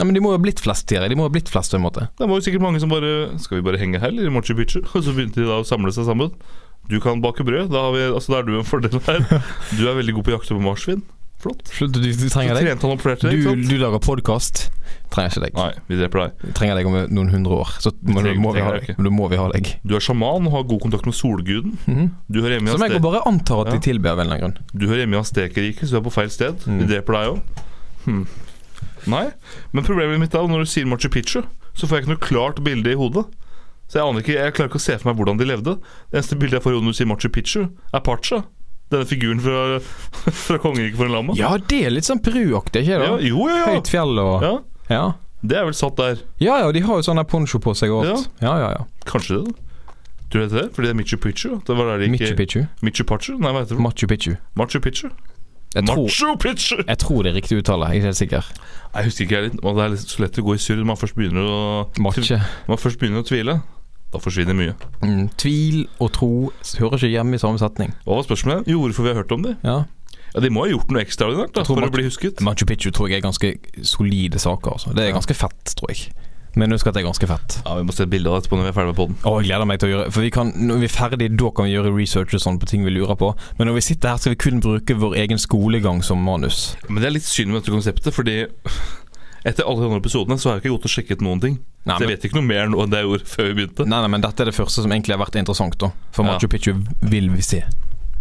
[SPEAKER 2] Ja, Men de må jo ha blitt flest tidligere. De må ha blitt flest på en måte.
[SPEAKER 3] Det var jo sikkert mange som bare 'skal vi bare henge her', eller i Machu Picchu? (laughs) Og så begynte de da å samle seg sammen. Du kan bake brød, da, har vi, altså, da er du en fordel her. Du er veldig god på å jakte på marsvin. Flott.
[SPEAKER 2] Slutt, du, du
[SPEAKER 3] Så
[SPEAKER 2] trenger deg.
[SPEAKER 3] trente han og
[SPEAKER 2] Du,
[SPEAKER 3] opererte deg, ikke sant?
[SPEAKER 2] du lager podkast. Trenger ikke deg.
[SPEAKER 3] Nei, vi dreper deg.
[SPEAKER 2] Vi Trenger deg om noen hundre år. Så må,
[SPEAKER 3] trenger-
[SPEAKER 2] må, vi ha
[SPEAKER 3] trenger
[SPEAKER 2] deg.
[SPEAKER 3] deg
[SPEAKER 2] da må vi ha deg.
[SPEAKER 3] Du er sjaman og har god kontakt med solguden.
[SPEAKER 2] Mhm.
[SPEAKER 3] Du hører hjemme i
[SPEAKER 2] Som jeg
[SPEAKER 3] Azte-
[SPEAKER 2] bare antar at de
[SPEAKER 3] Ja.
[SPEAKER 2] tilber av en eller annen grunn.
[SPEAKER 3] du hører hjemme i Aztekeriket, så du er på feil sted.
[SPEAKER 2] Mm.
[SPEAKER 3] Vi dreper deg òg. Hmm. Nei, men problemet mitt er jo når du sier Machu Picchu, så får jeg ikke noe klart bilde i hodet. Så jeg aner ikke, jeg klarer ikke å se for meg hvordan de levde. Det eneste bildet jeg får i hodet når du sier Machu Picchu, er Pacha. Denne figuren fra, (laughs) fra kongeriket for en lama.
[SPEAKER 2] Ja, det er litt sånn Peru-aktig, ikke det?
[SPEAKER 3] Ja,
[SPEAKER 2] da?
[SPEAKER 3] jo, ja, ja.
[SPEAKER 2] Høyt fjell og
[SPEAKER 3] ja.
[SPEAKER 2] Ja,
[SPEAKER 3] Det er vel satt der.
[SPEAKER 2] ja, ja de har jo sånn der poncho på seg og alt. Ja, ja, ja.
[SPEAKER 3] Kanskje det, da. Tror du det heter det? Fordi det er Michu Picchu. Det var der de
[SPEAKER 2] Michu
[SPEAKER 3] ikke
[SPEAKER 2] Picchu.
[SPEAKER 3] Michu Picchu? Nei, hva heter det?
[SPEAKER 2] Machu Picchu.
[SPEAKER 3] Machu Picchu?
[SPEAKER 2] Jeg tror,
[SPEAKER 3] Machu Picchu!
[SPEAKER 2] jeg tror det er riktig uttale. Jeg er ikke helt sikker.
[SPEAKER 3] Jeg husker ikke jeg litt, og Det er litt så lett å gå i surr når man først begynner å
[SPEAKER 2] Matche.
[SPEAKER 3] Når man først begynner å tvile. Da forsvinner mye.
[SPEAKER 2] Mm, tvil og tro hører ikke hjemme i samme setning.
[SPEAKER 3] Hva var spørsmålet? Jo, hvorfor vi har hørt om dem?
[SPEAKER 2] Ja.
[SPEAKER 3] Ja, De må ha gjort noe ekstraordinært da,
[SPEAKER 2] Jeg tror
[SPEAKER 3] for
[SPEAKER 2] Machu-
[SPEAKER 3] å bli husket.
[SPEAKER 2] Machu Picchu tror jeg er ganske solide saker. Altså. Det er ganske fett, tror jeg. Men husk at det er ganske fett.
[SPEAKER 3] Ja, Vi må se et bilde av det etterpå når vi er ferdig med podden.
[SPEAKER 2] Og jeg gleder meg til å gjøre For vi kan, når vi er ferdige, da kan vi gjøre research og sånn på ting vi lurer på. Men når vi sitter her, skal vi kun bruke vår egen skolegang som manus.
[SPEAKER 3] Men det er litt synd med dette konseptet, fordi etter alle de andre episodene så har jeg ikke gått og sjekket noen ting.
[SPEAKER 2] Nei,
[SPEAKER 3] så jeg
[SPEAKER 2] men,
[SPEAKER 3] vet ikke noe mer nå enn det jeg gjorde før vi begynte.
[SPEAKER 2] nei, nei, men dette er det første som egentlig har vært interessant, da. For
[SPEAKER 3] Ja.
[SPEAKER 2] Machu Picchu vil vi se.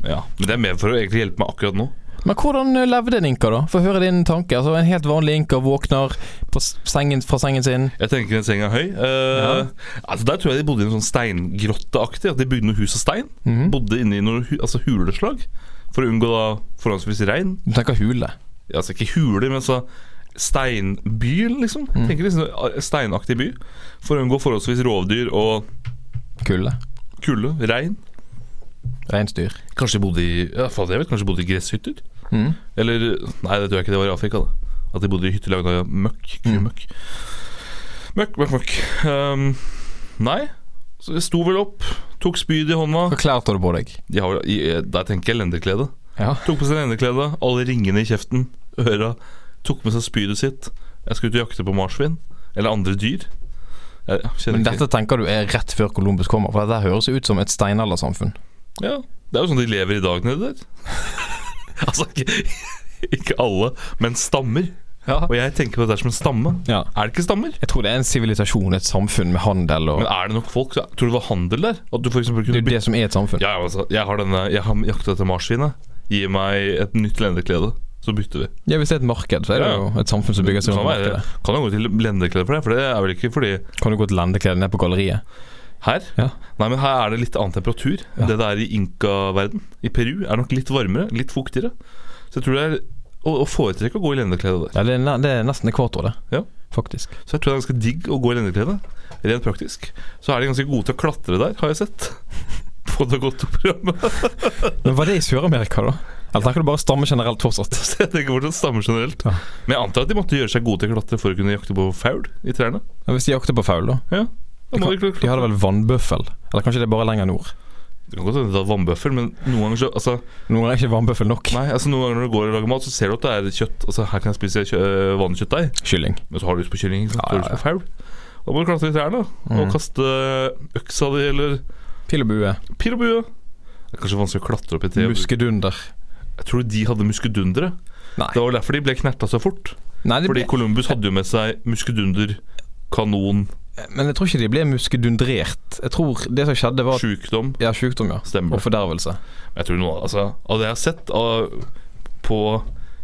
[SPEAKER 3] Ja, Men det er mer for å egentlig hjelpe meg akkurat nå.
[SPEAKER 2] Men hvordan eh, levde en inka, da? Få høre din tanke. Altså, En helt vanlig inka våkner på s- sengen, fra sengen sin.
[SPEAKER 3] Jeg tenker den senga er høy. Eh, altså Der tror jeg de bodde i en sånn steingrotteaktig. At de bygde noe hus av stein.
[SPEAKER 2] Mhm.
[SPEAKER 3] Bodde inne i noen hu altså huleslag for å unngå da forholdsvis regn.
[SPEAKER 2] Du tenker hule.
[SPEAKER 3] Ja, Altså ikke huler, men så steinby, liksom. Tenker liksom a- Steinaktig by. For å unngå forholdsvis rovdyr og
[SPEAKER 2] Kulde.
[SPEAKER 3] kulde, regn.
[SPEAKER 2] Reinsdyr.
[SPEAKER 3] Kanskje de bodde i ja, faen, jeg vet, kanskje de bodde i gresshytter?
[SPEAKER 2] Mhm.
[SPEAKER 3] Eller Nei, det tror jeg ikke det var i Afrika. da At de bodde i hytter lagd av møkk.
[SPEAKER 2] Mm.
[SPEAKER 3] Kumøkk. Møkk, møkk, møkk. Ehm, nei. Så jeg sto vel opp, tok spyd i hånda.
[SPEAKER 2] Hva klær tar du på deg?
[SPEAKER 3] De har, vel- i, der tenker jeg lenderklede.
[SPEAKER 2] Ja.
[SPEAKER 3] Tok på seg lenderkledet, alle ringene i kjeften, øra. Tok med seg spydet sitt. Jeg skulle ut og jakte på marsvin. Eller andre dyr. Jeg kjenner
[SPEAKER 2] Men
[SPEAKER 3] ikke
[SPEAKER 2] dette tenker du er rett før Columbus kommer, for dette høres jo ut som et steinaldersamfunn.
[SPEAKER 3] Ja, det er jo sånn de lever i dag
[SPEAKER 2] (laughs)
[SPEAKER 3] nede der. altså, ikke, ikke alle, men stammer.
[SPEAKER 2] Ja.
[SPEAKER 3] Og jeg tenker på dette som en stamme.
[SPEAKER 2] Ja.
[SPEAKER 3] Er det ikke stammer?
[SPEAKER 2] Jeg tror det er en sivilisasjon, et samfunn med handel og
[SPEAKER 3] Men er det nok folk? så- Tror du det var handel der? At du for eksempel
[SPEAKER 2] Det
[SPEAKER 3] kunne
[SPEAKER 2] er jo
[SPEAKER 3] bytte
[SPEAKER 2] det som er et samfunn.
[SPEAKER 3] Ja, ja, altså, jeg har denne Jeg har jakta etter marsvinet. Gi meg et nytt lendeklede, så bytter vi.
[SPEAKER 2] Ja, Hvis det er et marked, så er det
[SPEAKER 3] Ja, ja.
[SPEAKER 2] jo et samfunn som bygger seg
[SPEAKER 3] Sånn
[SPEAKER 2] rundt
[SPEAKER 3] er det.
[SPEAKER 2] markedet.
[SPEAKER 3] Kan jeg gå til lendeklede for det? For det er vel ikke fordi
[SPEAKER 2] Kan du gå til lendeklede ned på galleriet?
[SPEAKER 3] Her?
[SPEAKER 2] Ja.
[SPEAKER 3] Nei, men her er det litt annen temperatur enn det det er i inkaverden. I Peru er det nok litt varmere, litt fuktigere. Så jeg tror det er å, å foretrekke å gå i lendeklede der.
[SPEAKER 2] Ja, det, er, ne- det er nesten ekvator, det.
[SPEAKER 3] Ja.
[SPEAKER 2] Faktisk.
[SPEAKER 3] Så jeg tror det er ganske digg å gå i lendeklede. Rent praktisk. Så er de ganske gode til å klatre der, har jeg sett. (laughs) På det godt programmet.
[SPEAKER 2] Men var det i Sør-Amerika, da? Eller tenker du bare stamme generelt fortsatt?
[SPEAKER 3] (laughs) Så jeg tenker hvordan det stammer generelt.
[SPEAKER 2] Ja.
[SPEAKER 3] Men jeg antar at de måtte gjøre seg gode til å klatre for å kunne jakte på faul i trærne.
[SPEAKER 2] Ja, Hvis de jakter på faul, da?
[SPEAKER 3] Ja, da må de,
[SPEAKER 2] De
[SPEAKER 3] klatre.
[SPEAKER 2] hadde vel vannbøffel? Eller kanskje det er bare lenger nord?
[SPEAKER 3] Det kan godt hende det er vannbøffel, men noen ganger så altså,
[SPEAKER 2] Noen er ikke vannbøffel nok.
[SPEAKER 3] Nei, altså noen ganger når du går og lager mat, så ser du at det er kjøtt. Altså Her kan jeg spise kjø øh, vannkjøttdeig,
[SPEAKER 2] Kylling.
[SPEAKER 3] men så har du lyst på kylling. Ikke sant?
[SPEAKER 2] Ja,
[SPEAKER 3] Så har
[SPEAKER 2] ja,
[SPEAKER 3] du lyst på faul. Da må du klatre i trærne og
[SPEAKER 2] Mm.
[SPEAKER 3] kaste øh, øksa di eller
[SPEAKER 2] Pil og bue.
[SPEAKER 3] pil og bue. Det er kanskje vanskelig å klatre opp i tre.
[SPEAKER 2] Muskedunder.
[SPEAKER 3] Jeg tror de hadde muskedundere.
[SPEAKER 2] Nei.
[SPEAKER 3] Det var derfor de ble knerta så fort.
[SPEAKER 2] Nei, de
[SPEAKER 3] Fordi
[SPEAKER 2] ble,
[SPEAKER 3] Columbus hadde jo med seg muskedunder, kanon,
[SPEAKER 2] men jeg tror ikke de ble muskedundrert. Jeg tror det som skjedde, var at
[SPEAKER 3] sjukdom.
[SPEAKER 2] Ja, sjukdom, ja.
[SPEAKER 3] Stemmer.
[SPEAKER 2] Og fordervelse.
[SPEAKER 3] Jeg tror noe, altså, Av det jeg har sett av, på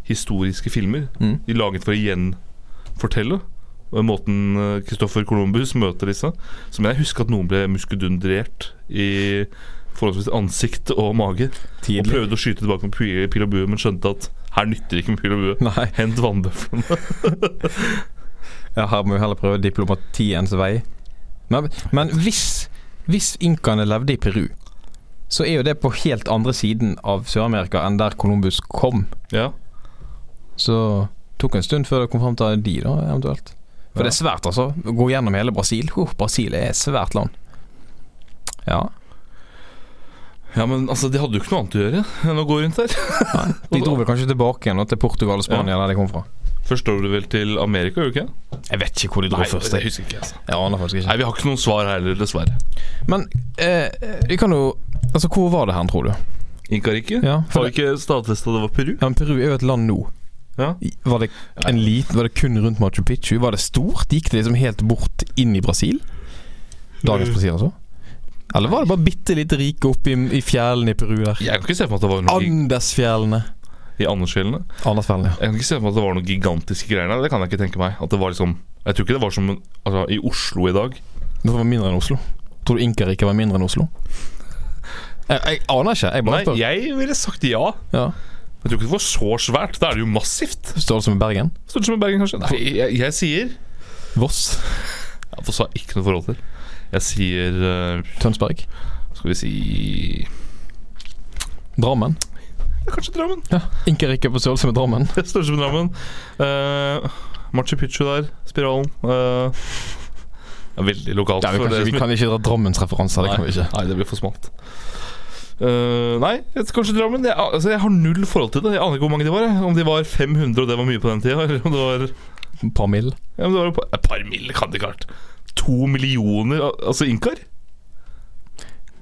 [SPEAKER 3] historiske filmer
[SPEAKER 2] Mm.
[SPEAKER 3] de laget for å gjenfortelle og måten eh, Christopher Columbus møter disse Så mener jeg husker at noen ble muskedundrert i forholdsvis ansikt og mage. Og
[SPEAKER 2] Tidlig.
[SPEAKER 3] prøvde å skyte tilbake med pil- pil og bue, men skjønte at her nytter det ikke med pil og bue.
[SPEAKER 2] Nei,
[SPEAKER 3] Hent vannbøflene.
[SPEAKER 2] ja, her må vi heller prøve diplomatiens vei. Men, men hvis, hvis inkaene levde i Peru, så er jo det på helt andre siden av Sør-Amerika enn der Columbus kom.
[SPEAKER 3] Ja.
[SPEAKER 2] Så tok en stund før det kom fram til de, da, eventuelt. For
[SPEAKER 3] Ja.
[SPEAKER 2] det er svært, altså. Å Gå gjennom hele Brasil. Oh, Brasil er et svært land. Ja.
[SPEAKER 3] Ja, men altså, de hadde jo ikke noe annet å gjøre enn å gå rundt der.
[SPEAKER 2] De dro vel kanskje tilbake igjen da, til Portugal og Spania, der de kom fra.
[SPEAKER 3] Først dro du vel til Amerika, gjorde du ikke?
[SPEAKER 2] Jeg vet ikke hvor de dro først.
[SPEAKER 3] jeg
[SPEAKER 2] Jeg,
[SPEAKER 3] husker ikke. Altså.
[SPEAKER 2] jeg aner faktisk ikke.
[SPEAKER 3] Nei, vi har ikke noen svar her heller, dessverre.
[SPEAKER 2] Men eh, vi kan jo Altså, hvor var det hen, tror du?
[SPEAKER 3] Inkariket?
[SPEAKER 2] Ja, for
[SPEAKER 3] Har
[SPEAKER 2] det,
[SPEAKER 3] vi ikke stadfesta det var Peru?
[SPEAKER 2] ja, men Peru er jo et land nå.
[SPEAKER 3] Ja.
[SPEAKER 2] I- Var det, en liten, var det kun rundt Machu Picchu? Var det stort? Gikk det liksom helt bort inn i Brasil? Dagens Brasil, altså? Eller var det bare bitte lite rike oppe i, i fjellene i Peru der?
[SPEAKER 3] Jeg kan ikke se for meg at det var noe gig
[SPEAKER 2] Andesfjellene.
[SPEAKER 3] i Andersfjellene.
[SPEAKER 2] Andesfjellene, ja.
[SPEAKER 3] Jeg kan ikke se for meg at det var noen gigantiske greier der. Det kan jeg ikke tenke meg. At det var liksom Jeg tror ikke det var som altså, i Oslo i dag.
[SPEAKER 2] Det var mindre enn Oslo. Tror du Inkariket var mindre enn Oslo? Jeg, jeg aner ikke. Jeg
[SPEAKER 3] Nei,
[SPEAKER 2] bare spør.
[SPEAKER 3] jeg ville sagt ja.
[SPEAKER 2] Ja.
[SPEAKER 3] Jeg tror ikke det var så svært. Da er det jo massivt.
[SPEAKER 2] Størrelse med Bergen?
[SPEAKER 3] Stort som i Bergen, kanskje. Nei, jeg, jeg sier
[SPEAKER 2] Voss?
[SPEAKER 3] ja, For så har jeg ikke noe forhold til. Jeg sier eh,
[SPEAKER 2] Tønsberg?
[SPEAKER 3] Skal vi si ja,
[SPEAKER 2] Drammen?
[SPEAKER 3] Kanskje Drammen. (laughs)
[SPEAKER 2] Ja. Inkariket på størrelse med Drammen?
[SPEAKER 3] Størrelse på Drammen. Eh, Machu Picchu der. Spiralen. eh, det er veldig lokalt.
[SPEAKER 2] Ja, vi,
[SPEAKER 3] for
[SPEAKER 2] kan
[SPEAKER 3] det
[SPEAKER 2] ikke,
[SPEAKER 3] som
[SPEAKER 2] vi kan ikke dra Drammens referanser. Det kan vi ikke.
[SPEAKER 3] Nei, det blir for smalt. Eh, nei, jeg- kanskje Drammen. Jeg, altså, jeg har null forhold til det. Jeg aner ikke hvor mange de var. jeg. Om de var 500 og det var mye på den tida, eller om det var
[SPEAKER 2] Et par mill.
[SPEAKER 3] ja, om det var et par- Et par mil kan det ikke ha vært. To millioner al- altså inkar?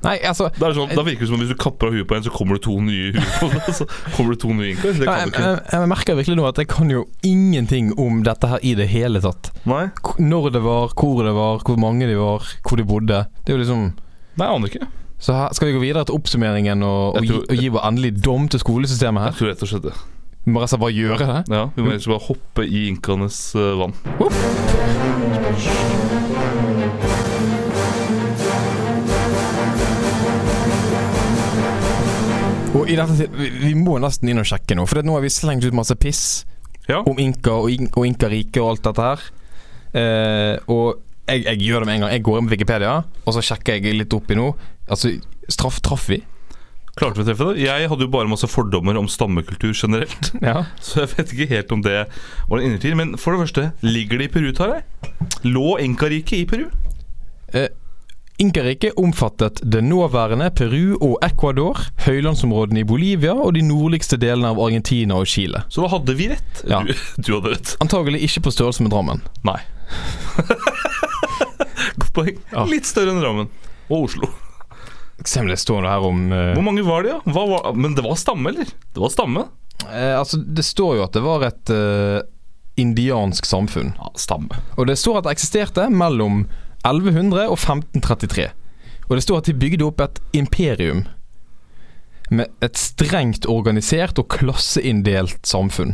[SPEAKER 2] Nei, altså
[SPEAKER 3] Da, er det sånn, da virker det som om hvis du kapper av huet på en, så kommer det to nye huer på (laughs) det. Så kommer det to nye inkar. Det kan
[SPEAKER 2] jeg,
[SPEAKER 3] du ikke.
[SPEAKER 2] jeg, jeg merker virkelig nå at jeg kan jo ingenting om dette her i det hele tatt.
[SPEAKER 3] Nei,
[SPEAKER 2] K- Når det var, hvor det var, hvor mange de var, hvor de bodde. Det er jo liksom
[SPEAKER 3] nei jeg aner ikke.
[SPEAKER 2] Så her skal vi gå videre til oppsummeringen og, og,
[SPEAKER 3] Jeg
[SPEAKER 2] gi,
[SPEAKER 3] tror-
[SPEAKER 2] og gi vår endelige dom til skolesystemet
[SPEAKER 3] Jeg
[SPEAKER 2] her.
[SPEAKER 3] tror rett og slett det.
[SPEAKER 2] Vi må rett og slett bare gjøre det.
[SPEAKER 3] Ja, Vi må egentlig bare hoppe i inkaenes eh, vann.
[SPEAKER 2] Og i dette til, vi, vi må nesten inn og sjekke nå, for det, nå har vi slengt ut masse piss
[SPEAKER 3] Ja.
[SPEAKER 2] om Inka og, in, og Inkariket og alt dette her. Eh, og jeg, jeg gjør det med en gang. Jeg går inn på Wikipedia, og så sjekker jeg litt oppi nå. Altså, straff traff vi.
[SPEAKER 3] Klarte vi å treffe det? Jeg hadde jo bare masse fordommer om stammekultur generelt.
[SPEAKER 2] Ja.
[SPEAKER 3] (laughs) Så jeg vet ikke helt om det var en innertid. Men for det første, ligger det i Peru, Tarjei? Lå Enkariket i Peru?
[SPEAKER 2] Inkariket omfattet det nåværende Peru og Ecuador, høylandsområdene i Bolivia og de nordligste delene av Argentina og Chile.
[SPEAKER 3] Så da hadde vi rett.
[SPEAKER 2] Ja.
[SPEAKER 3] Du, du hadde rett.
[SPEAKER 2] Antagelig ikke på størrelse med Drammen.
[SPEAKER 3] Nei. (laughs) Godt poeng.
[SPEAKER 2] Ja.
[SPEAKER 3] Litt større enn Drammen. Og Oslo.
[SPEAKER 2] Se om det står noe her om eh,
[SPEAKER 3] Hvor mange var det, ja? Hva var, men det var stamme, eller? Det var stamme.
[SPEAKER 2] eh, Altså, det står jo at det var et eh, indiansk samfunn.
[SPEAKER 3] Ja, stamme.
[SPEAKER 2] Og det står at det eksisterte mellom 1100 og 1533. Og det står at de bygde opp et imperium. Med et strengt organisert og klasseinndelt samfunn.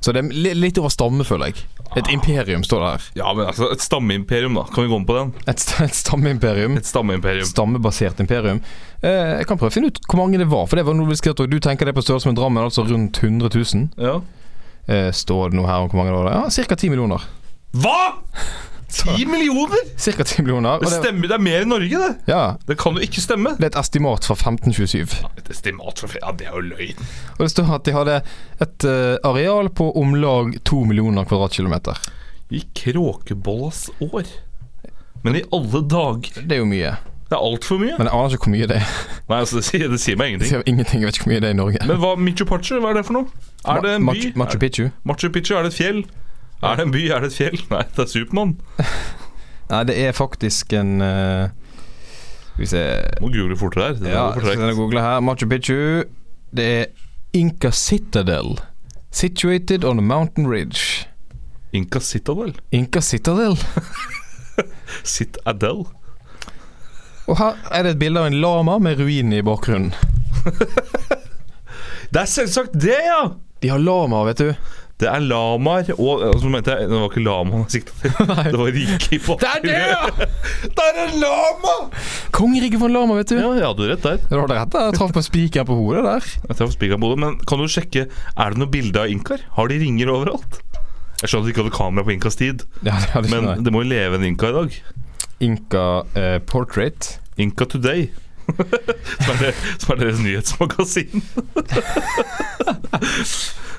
[SPEAKER 2] Så det er li- litt over stamme, føler jeg. Et imperium står det her.
[SPEAKER 3] Ja, men altså, et stammeimperium, da. Kan vi gå med på den?
[SPEAKER 2] Et, st et stammeimperium.
[SPEAKER 3] Et stammeimperium.
[SPEAKER 2] Stammebasert imperium. Eh, jeg kan prøve å finne ut hvor mange det var. For det var noe vi skrev, og Du tenker det på størrelse med Drammen, altså rundt 100 000.
[SPEAKER 3] Ja.
[SPEAKER 2] Eh, står det noe her om hvor mange det var? Ja, ca. 10 millioner.
[SPEAKER 3] Hva?! Ti millioner?!
[SPEAKER 2] Cirka 10 millioner. og
[SPEAKER 3] Det stemmer, det er mer i Norge, det!
[SPEAKER 2] ja,
[SPEAKER 3] Det kan jo ikke stemme.
[SPEAKER 2] det er et estimat fra 1527.
[SPEAKER 3] Et estimat fra Ja, det er jo løgn.
[SPEAKER 2] Og det står at de hadde et eh, areal på om lag to millioner kvadratkilometer.
[SPEAKER 3] I kråkebollas år. Men i alle dager
[SPEAKER 2] Det er jo mye,
[SPEAKER 3] Det er altfor mye.
[SPEAKER 2] men jeg aner ikke hvor mye det er. (laughs)
[SPEAKER 3] Nei, altså, det sier, det sier meg
[SPEAKER 2] Jeg
[SPEAKER 3] ingenting.
[SPEAKER 2] ser ingenting, jeg vet ikke hvor mye det er i Norge.
[SPEAKER 3] Men hva, Michu Picchu, hva er det for noe? Er det en by?
[SPEAKER 2] Machu, Machu Picchu?
[SPEAKER 3] Er- Machu Picchu, er det et fjell? Er det en by, er det et fjell? (laughs) Nei, det er Supermann.
[SPEAKER 2] Nei, det er faktisk en eh, Skal vi se
[SPEAKER 3] Må google fortere her. Det
[SPEAKER 2] Ja,
[SPEAKER 3] går for
[SPEAKER 2] skal
[SPEAKER 3] tregt.
[SPEAKER 2] jeg google her. Machu Picchu. Det er Inca Citadel. Situated on a mountain ridge.
[SPEAKER 3] Inca Citadel.
[SPEAKER 2] Inca Citadel.
[SPEAKER 3] Sit Adele.
[SPEAKER 2] Og her er det et bilde av en lama med ruinene i bakgrunnen.
[SPEAKER 3] Det er selvsagt det, ja!
[SPEAKER 2] De har lamaer, vet du.
[SPEAKER 3] Det er lamaer og altså, nå mente jeg, Det var ikke lamaen jeg sikta
[SPEAKER 2] (laughs)
[SPEAKER 3] til. Det var rike i
[SPEAKER 2] Det er det, ja!
[SPEAKER 3] Det er en lama!
[SPEAKER 2] Kongeriket for en lama, vet du.
[SPEAKER 3] (laughs) Ja, jeg hadde jo rett der.
[SPEAKER 2] Du hadde rett, jeg traff på spikeren på hodet der.
[SPEAKER 3] Jeg traff spikeren på hodet, men kan du sjekke Er det noe bilde av inkar? Har de ringer overalt? Jeg skjønner at de ikke hadde kamera på inkas tid,
[SPEAKER 2] Ja, det hadde ikke
[SPEAKER 3] men
[SPEAKER 2] noe.
[SPEAKER 3] det må jo leve en inka i dag.
[SPEAKER 2] Inca eh, Portrait.
[SPEAKER 3] Inka Today. (laughs) som, er det, som er deres nyhetsmagasin.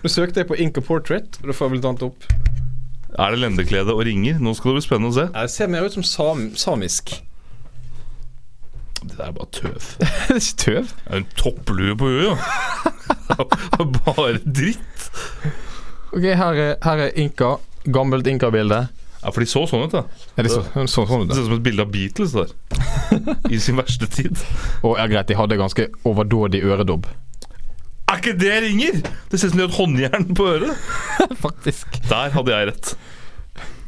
[SPEAKER 2] Nå søkte jeg på Inca Portrait, og da får jeg vel annet opp.
[SPEAKER 3] Er det lendeklede og ringer? Nå skal det bli spennende å se.
[SPEAKER 2] Det ser mer ut som samisk.
[SPEAKER 3] Det der er bare tøv.
[SPEAKER 2] det (laughs) er ikke tøv.
[SPEAKER 3] Det er en topplue på huet, jo. (laughs) Det er bare dritt.
[SPEAKER 2] Ok, her er, her er Inca. Gammelt Inca-bilde.
[SPEAKER 3] Ja, For de så sånn ut, da.
[SPEAKER 2] Er det så, så, sånn ut?
[SPEAKER 3] Det
[SPEAKER 2] da?
[SPEAKER 3] ser ut som et bilde av Beatles der. I sin verste tid.
[SPEAKER 2] Og ja, greit, de hadde ganske overdådig øredobb.
[SPEAKER 3] Er ikke det ringer? Det ser ut som de har et håndjern på øret.
[SPEAKER 2] Faktisk.
[SPEAKER 3] Der hadde jeg rett.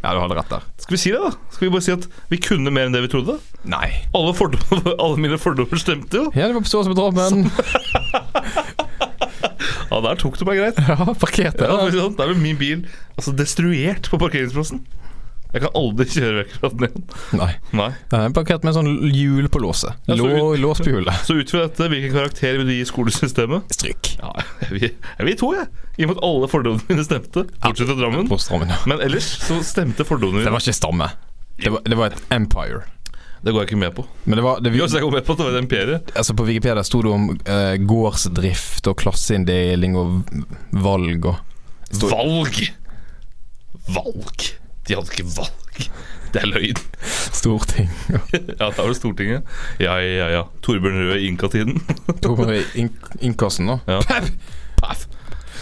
[SPEAKER 2] Ja, du hadde rett der.
[SPEAKER 3] Skal vi si det, da? Skal vi bare si at vi kunne mer enn det vi trodde?
[SPEAKER 2] Nei.
[SPEAKER 3] Alle, fordommer, (laughs) alle mine fordommer stemte jo.
[SPEAKER 2] Ja, det var på ståelse med drapmen.
[SPEAKER 3] Ja, der tok du meg greit.
[SPEAKER 2] (laughs) Ja, parkerte.
[SPEAKER 3] Ja, for å si
[SPEAKER 2] Ja,
[SPEAKER 3] det sånn, Der ble min bil altså, destruert på parkeringsplassen. Jeg kan aldri (laughs) kjøre vekk fra den igjen.
[SPEAKER 2] Nei.
[SPEAKER 3] Nei.
[SPEAKER 2] Nei, Parkert med sånn hjul på låset.
[SPEAKER 3] Ja, så
[SPEAKER 2] Lå, lås på hjulet.
[SPEAKER 3] Så ut fra dette, hvilken karakter vil du gi skolesystemet?
[SPEAKER 2] Stryk.
[SPEAKER 3] Ja, Jeg vil, jeg vil to, jeg. I og med at alle fordommene mine stemte. Bortsett fra Drammen.
[SPEAKER 2] På strammen, ja.
[SPEAKER 3] Men ellers så stemte fordommene
[SPEAKER 2] Det
[SPEAKER 3] mine.
[SPEAKER 2] var ikke stamme. Det var, det var et empire.
[SPEAKER 3] Det går jeg ikke med på.
[SPEAKER 2] Men det var det,
[SPEAKER 3] Jo, så jeg går med på at det var et imperie.
[SPEAKER 2] altså På Wikipedia sto det om eh, gårdsdrift og klasseinndeling og v- valg og
[SPEAKER 3] Valg! Valg. De hadde ikke valg. Det er løgn.
[SPEAKER 2] (laughs) storting.
[SPEAKER 3] Ja, da var det Stortinget. Ja, ja, ja. Torbjørn Røe i Inka-tiden.
[SPEAKER 2] Tok man det i inn- innkassen nå.
[SPEAKER 3] Ja.
[SPEAKER 2] Pep!
[SPEAKER 3] Paff.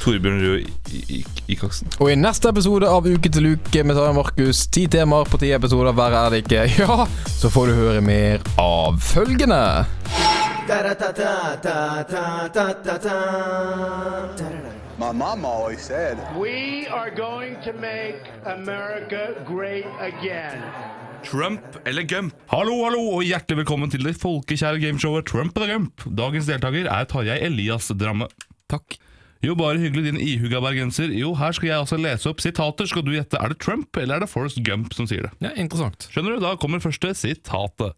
[SPEAKER 3] Torbjørn Røe i- i Ikaksen.
[SPEAKER 2] Og i neste episode av Uke til uke med Tarjei Markus, ti temaer på ti episoder, verre er det ikke, (laughs) ja, så får du høre mer av følgende.
[SPEAKER 6] My mom always said,
[SPEAKER 7] We are going to make America great again.
[SPEAKER 3] Trump eller Gump? Hallo, hallo, og hjertelig velkommen til det folkekjære gameshowet Trump eller Gump. Dagens deltaker er Tarjei Elias Dramme. Takk. Jo, bare hyggelig, din ihuga bergenser. Jo, her skal jeg altså lese opp sitater. Skal du gjette, er det Trump eller er det Forrest Gump som sier det?
[SPEAKER 2] Ja, interessant.
[SPEAKER 3] Skjønner du? Da kommer første sitatet.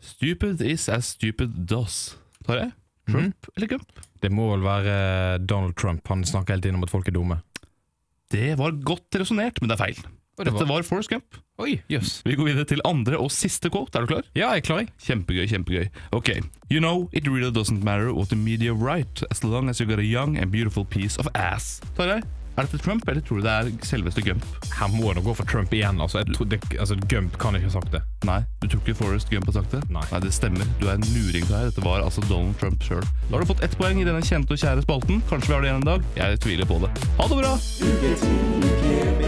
[SPEAKER 3] Stupid is as stupid does. Tarjei?
[SPEAKER 2] Mhm.
[SPEAKER 3] Trump eller Gump?
[SPEAKER 2] Det må vel være Donald Trump. Han snakker hele tiden om at folk er dumme.
[SPEAKER 3] Det var godt resonnert, men det er feil.
[SPEAKER 2] Og det
[SPEAKER 3] Dette var Forrest Gump.
[SPEAKER 2] Oi, jøss.
[SPEAKER 3] Vi går videre til andre og siste quote. Er du klar?
[SPEAKER 2] Ja, jeg er klar, jeg.
[SPEAKER 3] Kjempegøy, kjempegøy. Ok. You know, it really doesn't matter what the media write, as long as you got a young and beautiful piece of ass. Tarjei, er dette Trump, eller tror du det er selveste Gump?
[SPEAKER 2] Her må det gå for Trump igjen, altså. Jeg tror det, altså Gump kan ikke ha sagt det.
[SPEAKER 3] Nei, du tror ikke Forrest Gump har sagt det?
[SPEAKER 2] Nei.
[SPEAKER 3] Nei, det stemmer. Du er en luring Tarjei. Dette var altså Donald Trump sjøl. Da har du fått ett poeng i denne kjente og kjære spalten. Kanskje vi har det igjen en dag? Jeg tviler på det. Ha det bra!
[SPEAKER 8] Ukentlig gaming.